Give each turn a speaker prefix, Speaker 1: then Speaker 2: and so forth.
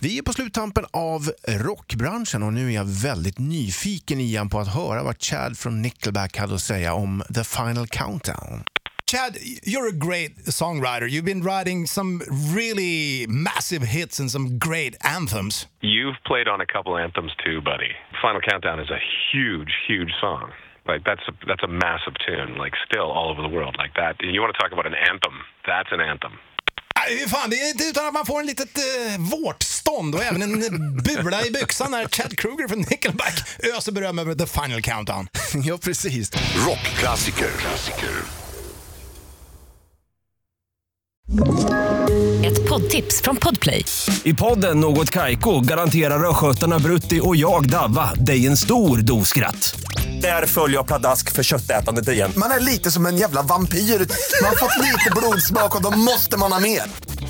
Speaker 1: Vi är på sluttampen av rockbranschen och nu är jag väldigt nyfiken igen på att höra vad Chad från Nickelback hade att säga om The Final Countdown.
Speaker 2: Chad, you're a great songwriter. You've been writing some really massive hits and some great anthems.
Speaker 3: You've played on a couple anthems too, buddy. Final Countdown is a huge, huge song. Like that's a, that's a massive tune. Like still all over the world. Like that. You want to talk about an anthem? That's an anthem.
Speaker 2: Äh, Fan, det är inte utan att man får en litet eh, vårtstånd och även en eh, bula i byxan när Chad Kroger från Nickelback öser beröm över The Final Countdown.
Speaker 1: ja, precis.
Speaker 4: Rockklassiker.
Speaker 5: Ett poddtips från Podplay.
Speaker 6: I podden Något Kaiko garanterar östgötarna Brutti och jag, Davva, dig en stor dos skratt. Där följer jag pladask för köttätandet igen.
Speaker 7: Man är lite som en jävla vampyr. Man har fått lite blodsmak och då måste man ha mer.